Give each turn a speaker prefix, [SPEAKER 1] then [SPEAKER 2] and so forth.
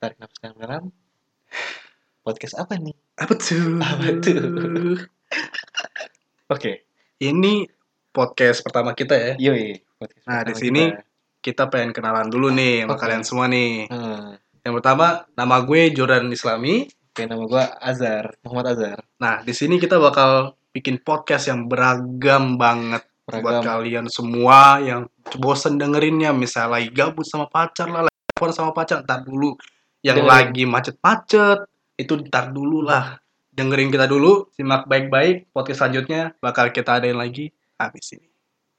[SPEAKER 1] Tarik nafas dalam-dalam. Podcast apa nih?
[SPEAKER 2] Apa tuh?
[SPEAKER 1] Apa tuh? Oke,
[SPEAKER 2] Ini podcast pertama kita ya.
[SPEAKER 1] yoi. Podcast
[SPEAKER 2] Nah, di
[SPEAKER 1] pertama
[SPEAKER 2] sini
[SPEAKER 1] kita.
[SPEAKER 2] kita pengen kenalan dulu nih sama
[SPEAKER 1] Oke.
[SPEAKER 2] kalian semua nih.
[SPEAKER 1] Hmm,
[SPEAKER 2] Yang pertama, nama gue Jordan Islami.
[SPEAKER 1] oke, nama gua Azhar, Muhammad Azhar.
[SPEAKER 2] Nah, di sini kita bakal bikin podcast yang beragam banget
[SPEAKER 1] Beragam.
[SPEAKER 2] buat kalian semua yang bosen dengerinnya, misalnya lagi gabut sama pacar lah, lagi telepon sama pacar, ntar dulu. Yang
[SPEAKER 1] Dengerin.
[SPEAKER 2] lagi macet-macet, itu ntar dulu lah. Dengerin kita dulu, simak baik-baik, podcast selanjutnya bakal kita adain lagi habis ini.